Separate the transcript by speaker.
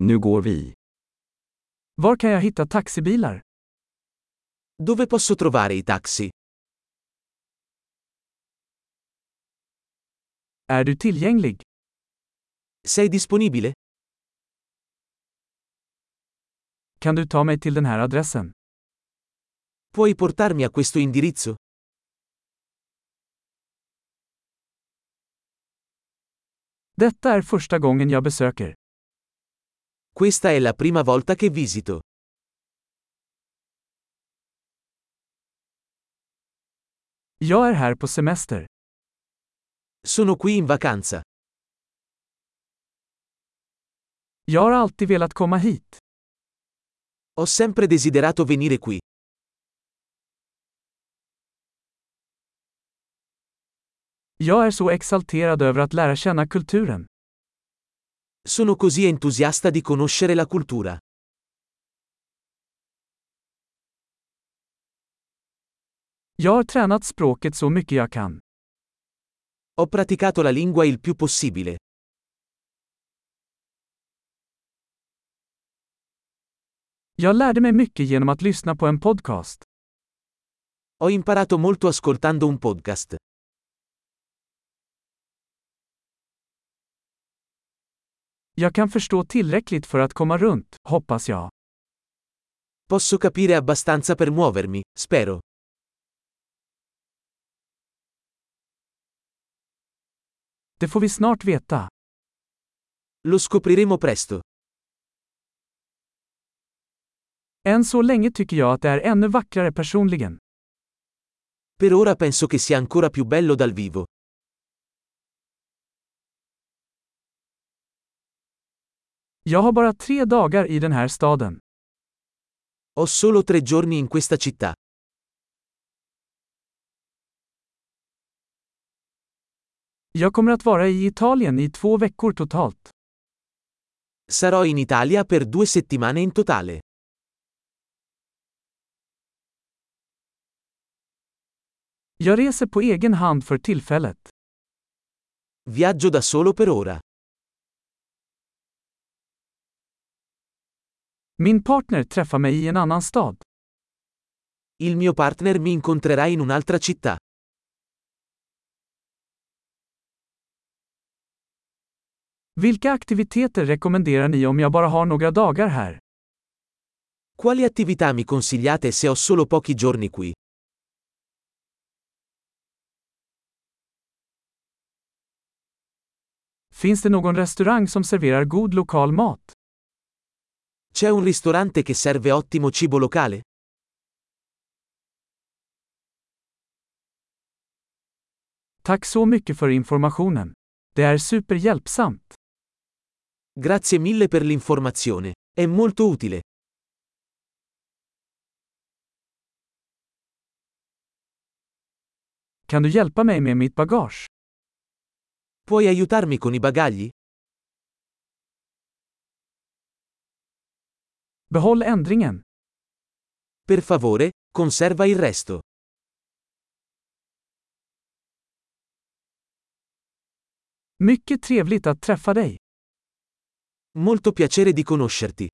Speaker 1: Nu går vi.
Speaker 2: Var kan jag hitta taxibilar?
Speaker 3: Dove posso trovare i taxi?
Speaker 2: Är du tillgänglig?
Speaker 3: Sei disponibile?
Speaker 2: Kan du ta mig till den här adressen?
Speaker 3: Puoi portarmi a questo indirizzo?
Speaker 2: Detta är första gången jag besöker.
Speaker 3: Questa è la prima volta che visito.
Speaker 2: Jag är här på semester.
Speaker 3: Sono qui in vacanza.
Speaker 2: Jag har alltid velat komma hit.
Speaker 3: Ho sempre desiderato venire qui.
Speaker 2: Jag är så exalterad över att lära känna kulturen.
Speaker 3: Sono così entusiasta di conoscere la cultura.
Speaker 2: Jag har tränat språket så mycket jag kan.
Speaker 3: Ho praticato la lingua il più possibile.
Speaker 2: Jag lärde mig mycket genom att lyssna på en podcast.
Speaker 3: Ho imparato molto ascoltando un podcast.
Speaker 2: Jag kan förstå tillräckligt för att komma runt, hoppas jag.
Speaker 3: Posso capire abbastanza per muovermi, spero.
Speaker 2: Det får vi snart veta.
Speaker 3: Lo scopriremo presto.
Speaker 2: Än så länge tycker jag att det är ännu vackrare personligen.
Speaker 3: Per ora penso che sia ancora più bello dal vivo.
Speaker 2: Jag har bara tre dagar i den här staden.
Speaker 3: Ho solo tre giorni in questa città.
Speaker 2: Jag kommer att vara i Italien i två veckor totalt.
Speaker 3: Sarò in Italia per due settimane in totale.
Speaker 2: Jag reser på egen hand för tillfället.
Speaker 3: Viaggio da solo per ora.
Speaker 2: Min partner träffar mig i en annan stad.
Speaker 3: Il mio partner mi incontrerà in un'altra città.
Speaker 2: Vilka aktiviteter rekommenderar ni om jag bara har några dagar här?
Speaker 3: Quali attività mi consigliate se ho solo pochi giorni qui?
Speaker 2: Finns det någon restaurang som serverar god lokal mat?
Speaker 3: C'è un ristorante che serve ottimo cibo locale?
Speaker 2: Tack så mycket för informationen. Det är superhjälpsamt.
Speaker 3: Grazie mille per l'informazione. È molto utile.
Speaker 2: Kan du hjälpa mig med mitt bagage?
Speaker 3: Puoi aiutarmi con i bagagli?
Speaker 2: Behåll ändringen.
Speaker 3: Per favore, conserva il resto.
Speaker 2: Mycket trevligt att träffa dig.
Speaker 3: Molto piacere di conoscerti.